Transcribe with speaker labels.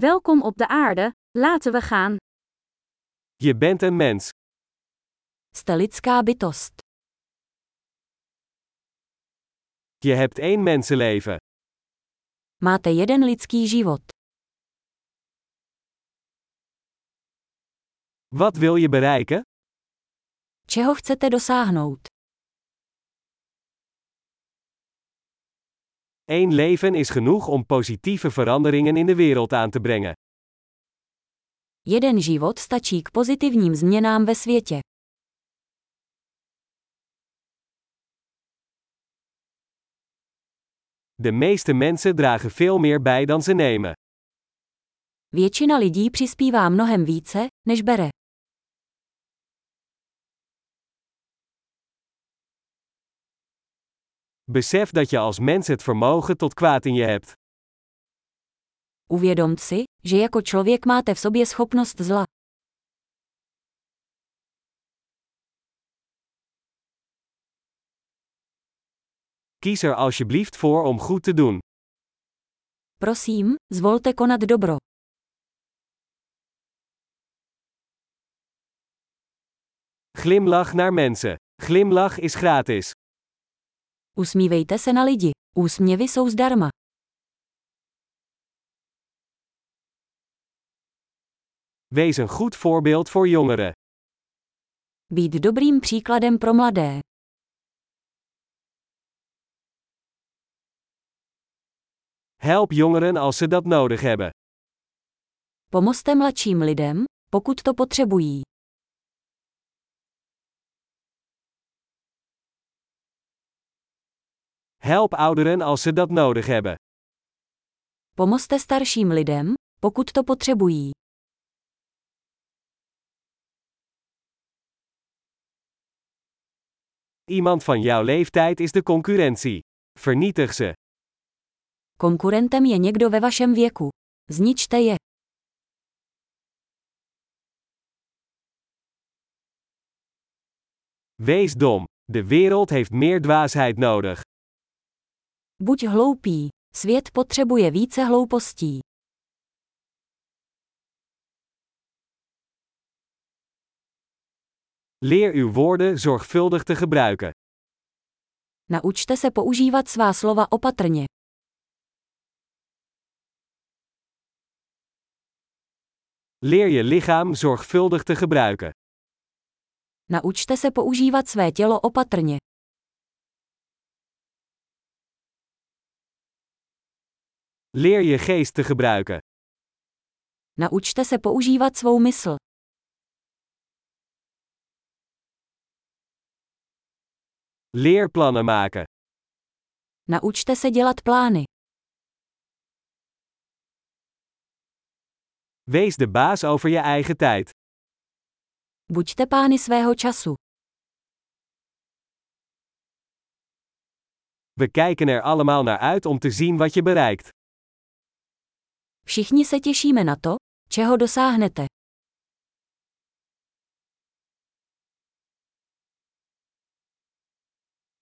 Speaker 1: Welkom op de aarde, laten we gaan.
Speaker 2: Je bent een mens.
Speaker 3: Jste lidská bytost.
Speaker 2: Je hebt één mensenleven.
Speaker 3: Máte jeden lidský život.
Speaker 2: Wat wil je bereiken?
Speaker 3: Čeho chcete dosáhnout?
Speaker 2: Eén leven is genoeg om positieve veranderingen in de wereld aan te brengen.
Speaker 3: Jeden život stačí k pozitivním změnám ve světě.
Speaker 2: De meeste mensen dragen veel meer bij dan ze nemen.
Speaker 3: Většina lidí přispívá mnohem více, než bere.
Speaker 2: Besef dat je als mens het vermogen tot kwaad in je hebt.
Speaker 3: Uvědom si, že jako člověk máte v sobě schopnost zla.
Speaker 2: Kies er alsjeblieft voor om goed te doen.
Speaker 3: Prosím, zvolte konat dobro.
Speaker 2: Glimlach naar mensen. Glimlach is gratis.
Speaker 3: Usmívejte se na lidi. Úsměvy jsou zdarma.
Speaker 2: Wees een goed voorbeeld voor jongeren.
Speaker 3: Být dobrým příkladem pro mladé.
Speaker 2: Help jongeren als ze dat nodig hebben.
Speaker 3: Pomozte mladším lidem, pokud to potřebují.
Speaker 2: Help ouderen als ze dat nodig hebben.
Speaker 3: Pomozte starším lidem, pokud to potřebují.
Speaker 2: Iemand van jouw leeftijd is de concurrentie. Vernietig ze.
Speaker 3: Konkurentem je někdo ve vašem věku. Zničte je.
Speaker 2: Wees dom. De wereld heeft meer dwaasheid nodig.
Speaker 3: Buď hloupý. Svět potřebuje více hloupostí.
Speaker 2: Leer uw woorden zorgvuldig te gebruiken.
Speaker 3: Naučte se používat svá slova opatrně.
Speaker 2: Leer je lichaam zorgvuldig te gebruiken.
Speaker 3: Naučte se používat své tělo opatrně.
Speaker 2: Leer je geest te gebruiken.
Speaker 3: Naučte se používat svou mysl.
Speaker 2: Leer plannen maken.
Speaker 3: Naučte se dělat plány.
Speaker 2: Wees de baas over je eigen tijd.
Speaker 3: Buďte pány svého času.
Speaker 2: We kijken er allemaal naar uit om te zien wat je bereikt.
Speaker 3: Všichni se těšíme na to, čeho dosáhnete.